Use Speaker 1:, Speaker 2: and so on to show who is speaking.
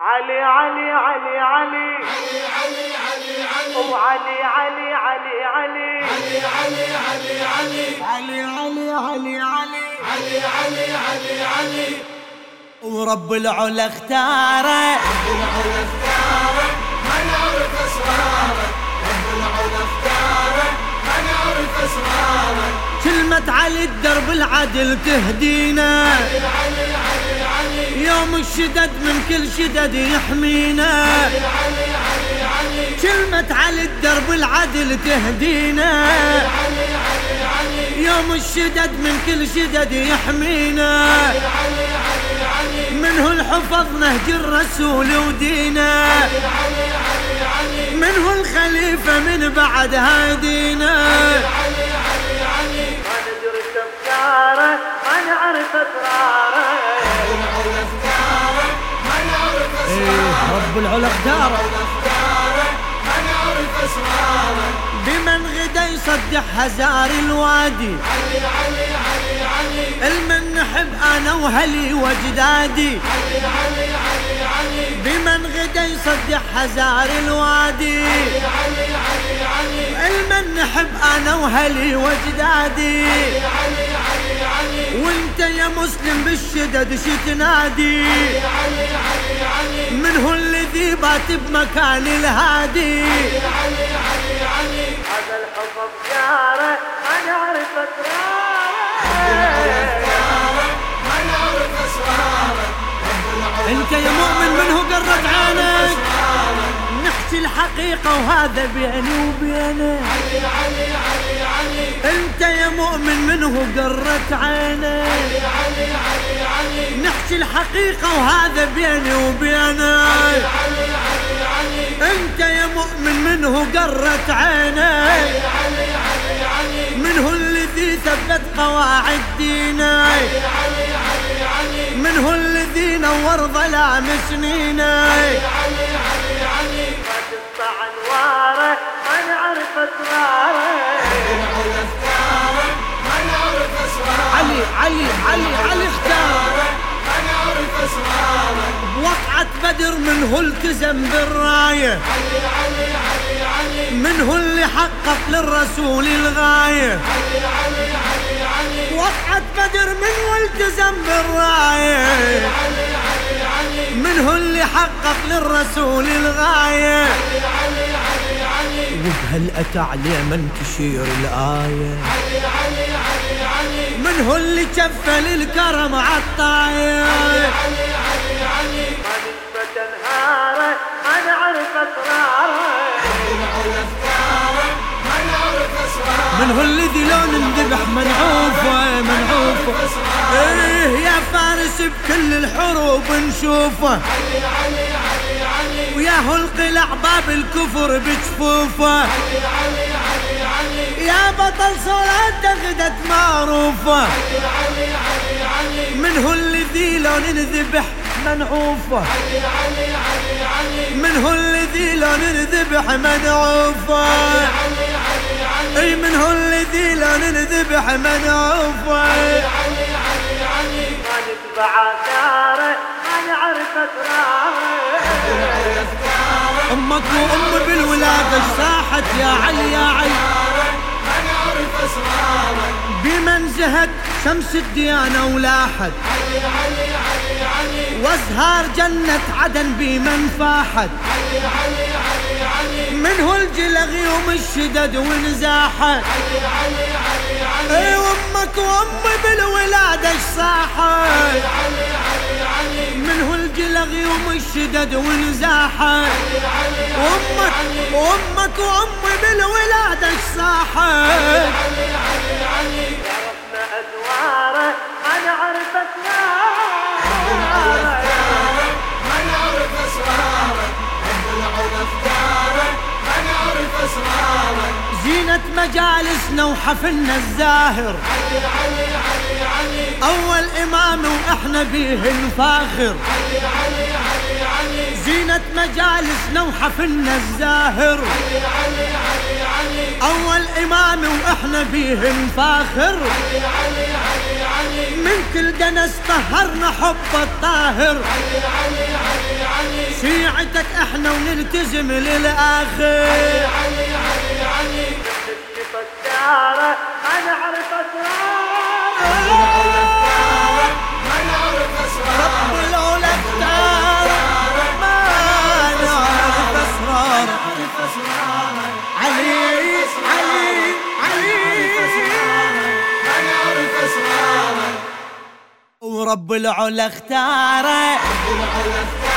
Speaker 1: علي علي علي علي
Speaker 2: علي علي علي علي
Speaker 1: وعلي علي علي علي
Speaker 2: علي علي علي
Speaker 3: علي علي علي علي
Speaker 2: علي علي علي علي
Speaker 3: ورب العلا اختاره
Speaker 2: العلا اختارك ما نعرف اسرارك رب العلا اختارك ما نعرف اسرارك
Speaker 3: كلمة علي الدرب العدل تهدينا
Speaker 2: علي علي علي
Speaker 3: يوم الشدد من كل شدد يحمينا
Speaker 2: علي علي علي
Speaker 3: كلمة علي الدرب العدل تهدينا
Speaker 2: علي علي علي
Speaker 3: يوم الشدد من كل شدد يحمينا
Speaker 2: علي علي علي
Speaker 3: منه الحفظ نهج الرسول ودينا
Speaker 2: علي علي علي
Speaker 3: منه الخليفة من بعد هادينا
Speaker 2: علي علي علي
Speaker 1: ما ندرك افكاره ما نعرف اسراره
Speaker 2: العلا اختارك ما نعرف اسرارك
Speaker 3: رب العلا اختاره
Speaker 2: اختارك ما نعرف اسرارك
Speaker 3: بمن غدا يصدح هزار الوادي
Speaker 2: علي علي علي علي
Speaker 3: المن نحب انا وهلي واجدادي
Speaker 2: علي علي علي علي
Speaker 3: بمن غدا يصدح هزار الوادي
Speaker 2: علي علي علي
Speaker 3: المن نحب انا وهلي واجدادي
Speaker 2: علي علي علي
Speaker 3: وانت يا مسلم بالشدد شو تنادي
Speaker 2: علي علي علي
Speaker 3: من هو الذي بات بمكان الهادي
Speaker 2: علي علي علي
Speaker 1: هذا الحب افكاره ما نعرف اسراره
Speaker 2: اختارك ما نعرف اسرارك
Speaker 3: انت يا مؤمن من هو قرب عينك نحكي الحقيقة وهذا بيني وبينك
Speaker 2: علي علي علي علي
Speaker 3: انت يا مؤمن منه قرت عينك
Speaker 2: علي علي علي
Speaker 3: نحكي الحقيقة وهذا بيني وبينك
Speaker 2: علي علي علي
Speaker 3: انت يا مؤمن منه قرت عينك
Speaker 2: علي علي علي
Speaker 3: منه الذي ثبت قواعد دينك
Speaker 2: علي علي علي
Speaker 3: منه الذي نور ظلام سنينك
Speaker 2: علي علي علي
Speaker 1: ما تسمع انواره ما نعرف اسراره
Speaker 2: العلا اختارك ما نعرف اسرارك
Speaker 3: علي علي علي علي اختار
Speaker 2: ما نعرف اسرارك
Speaker 3: وقعة بدر منه التزم بالراية
Speaker 2: علي علي علي علي
Speaker 3: منه اللي حقق للرسول الغاية
Speaker 2: علي علي علي علي
Speaker 3: وقعت بدر من والتزم بالراية
Speaker 2: علي علي علي
Speaker 3: منه اللي حقق للرسول الغاية
Speaker 2: علي علي علي
Speaker 3: وبهل أتى عليه من تشير الآية
Speaker 2: علي علي علي علي
Speaker 3: منه اللي كفل الكرم عالطاية
Speaker 2: علي علي علي
Speaker 1: ما نثبت انهاره ما نعرف اسراره
Speaker 2: العلا اختارك ما نعرف اسرارك
Speaker 3: منه الذي لو نذبح منعوفه منعوفه ايه يا فارس بكل الحروب نشوفه
Speaker 2: علي علي علي علي
Speaker 3: ويا هو القلع باب الكفر بجفوفه
Speaker 2: علي علي علي علي
Speaker 3: يا بطل صلاته غدت معروفه
Speaker 2: علي علي علي
Speaker 3: منه الذي لو نذبح منعوفه
Speaker 2: علي علي علي علي
Speaker 3: منه الذي لو نذبح منعوفه
Speaker 2: علي علي علي
Speaker 3: اي منه الذي لو نذبح منعوفه
Speaker 2: علي علي علي
Speaker 1: ما نتبع اثاره ما نعرف اسراره
Speaker 2: العلا اختارك
Speaker 3: امك وام بالولاده اجتاحت يا علي يا علي
Speaker 2: ما نعرف اسرارك
Speaker 3: بمن زهد شمس الديانه ولاحت
Speaker 2: علي علي علي علي
Speaker 3: وازهار جنة عدن بمن فاحت
Speaker 2: علي علي علي علي
Speaker 3: منه الجلغ يوم الشدد ونزاحت
Speaker 2: علي علي علي علي
Speaker 3: اي وامك وامي بالولادة اجصاحت
Speaker 2: علي علي علي
Speaker 3: منه الجلغ يوم الشدد ونزاحت
Speaker 2: علي
Speaker 3: وامك وامك وامي بالولادة اجصاحت
Speaker 2: علي علي علي
Speaker 1: عرفنا ادواره ما نعرف اسراره
Speaker 2: اختارك ما نعرف اسرارك رب العلا اختارك ما نعرف اسرارك
Speaker 3: زينة مجالسنا وحفلنا الزاهر
Speaker 2: علي علي علي علي
Speaker 3: اول امام واحنا بيه نفاخر
Speaker 2: علي علي علي علي
Speaker 3: زينة مجالسنا وحفلنا الزاهر
Speaker 2: علي علي علي علي
Speaker 3: أول إمام وإحنا بيه نفاخر
Speaker 2: علي علي علي علي
Speaker 3: من كل دنس طهرنا حب الطاهر
Speaker 2: علي علي علي علي
Speaker 3: شيعتك احنا ونلتزم للاخر
Speaker 2: علي علي علي
Speaker 1: كشفت داره ما نعرف اسراره
Speaker 2: ما نعرف اسرار
Speaker 3: رب لولا اختارك ما نعرف اسرارك علي علي علي
Speaker 2: ما نعرف اسرار
Speaker 3: ورب العلا اختارك
Speaker 2: العلا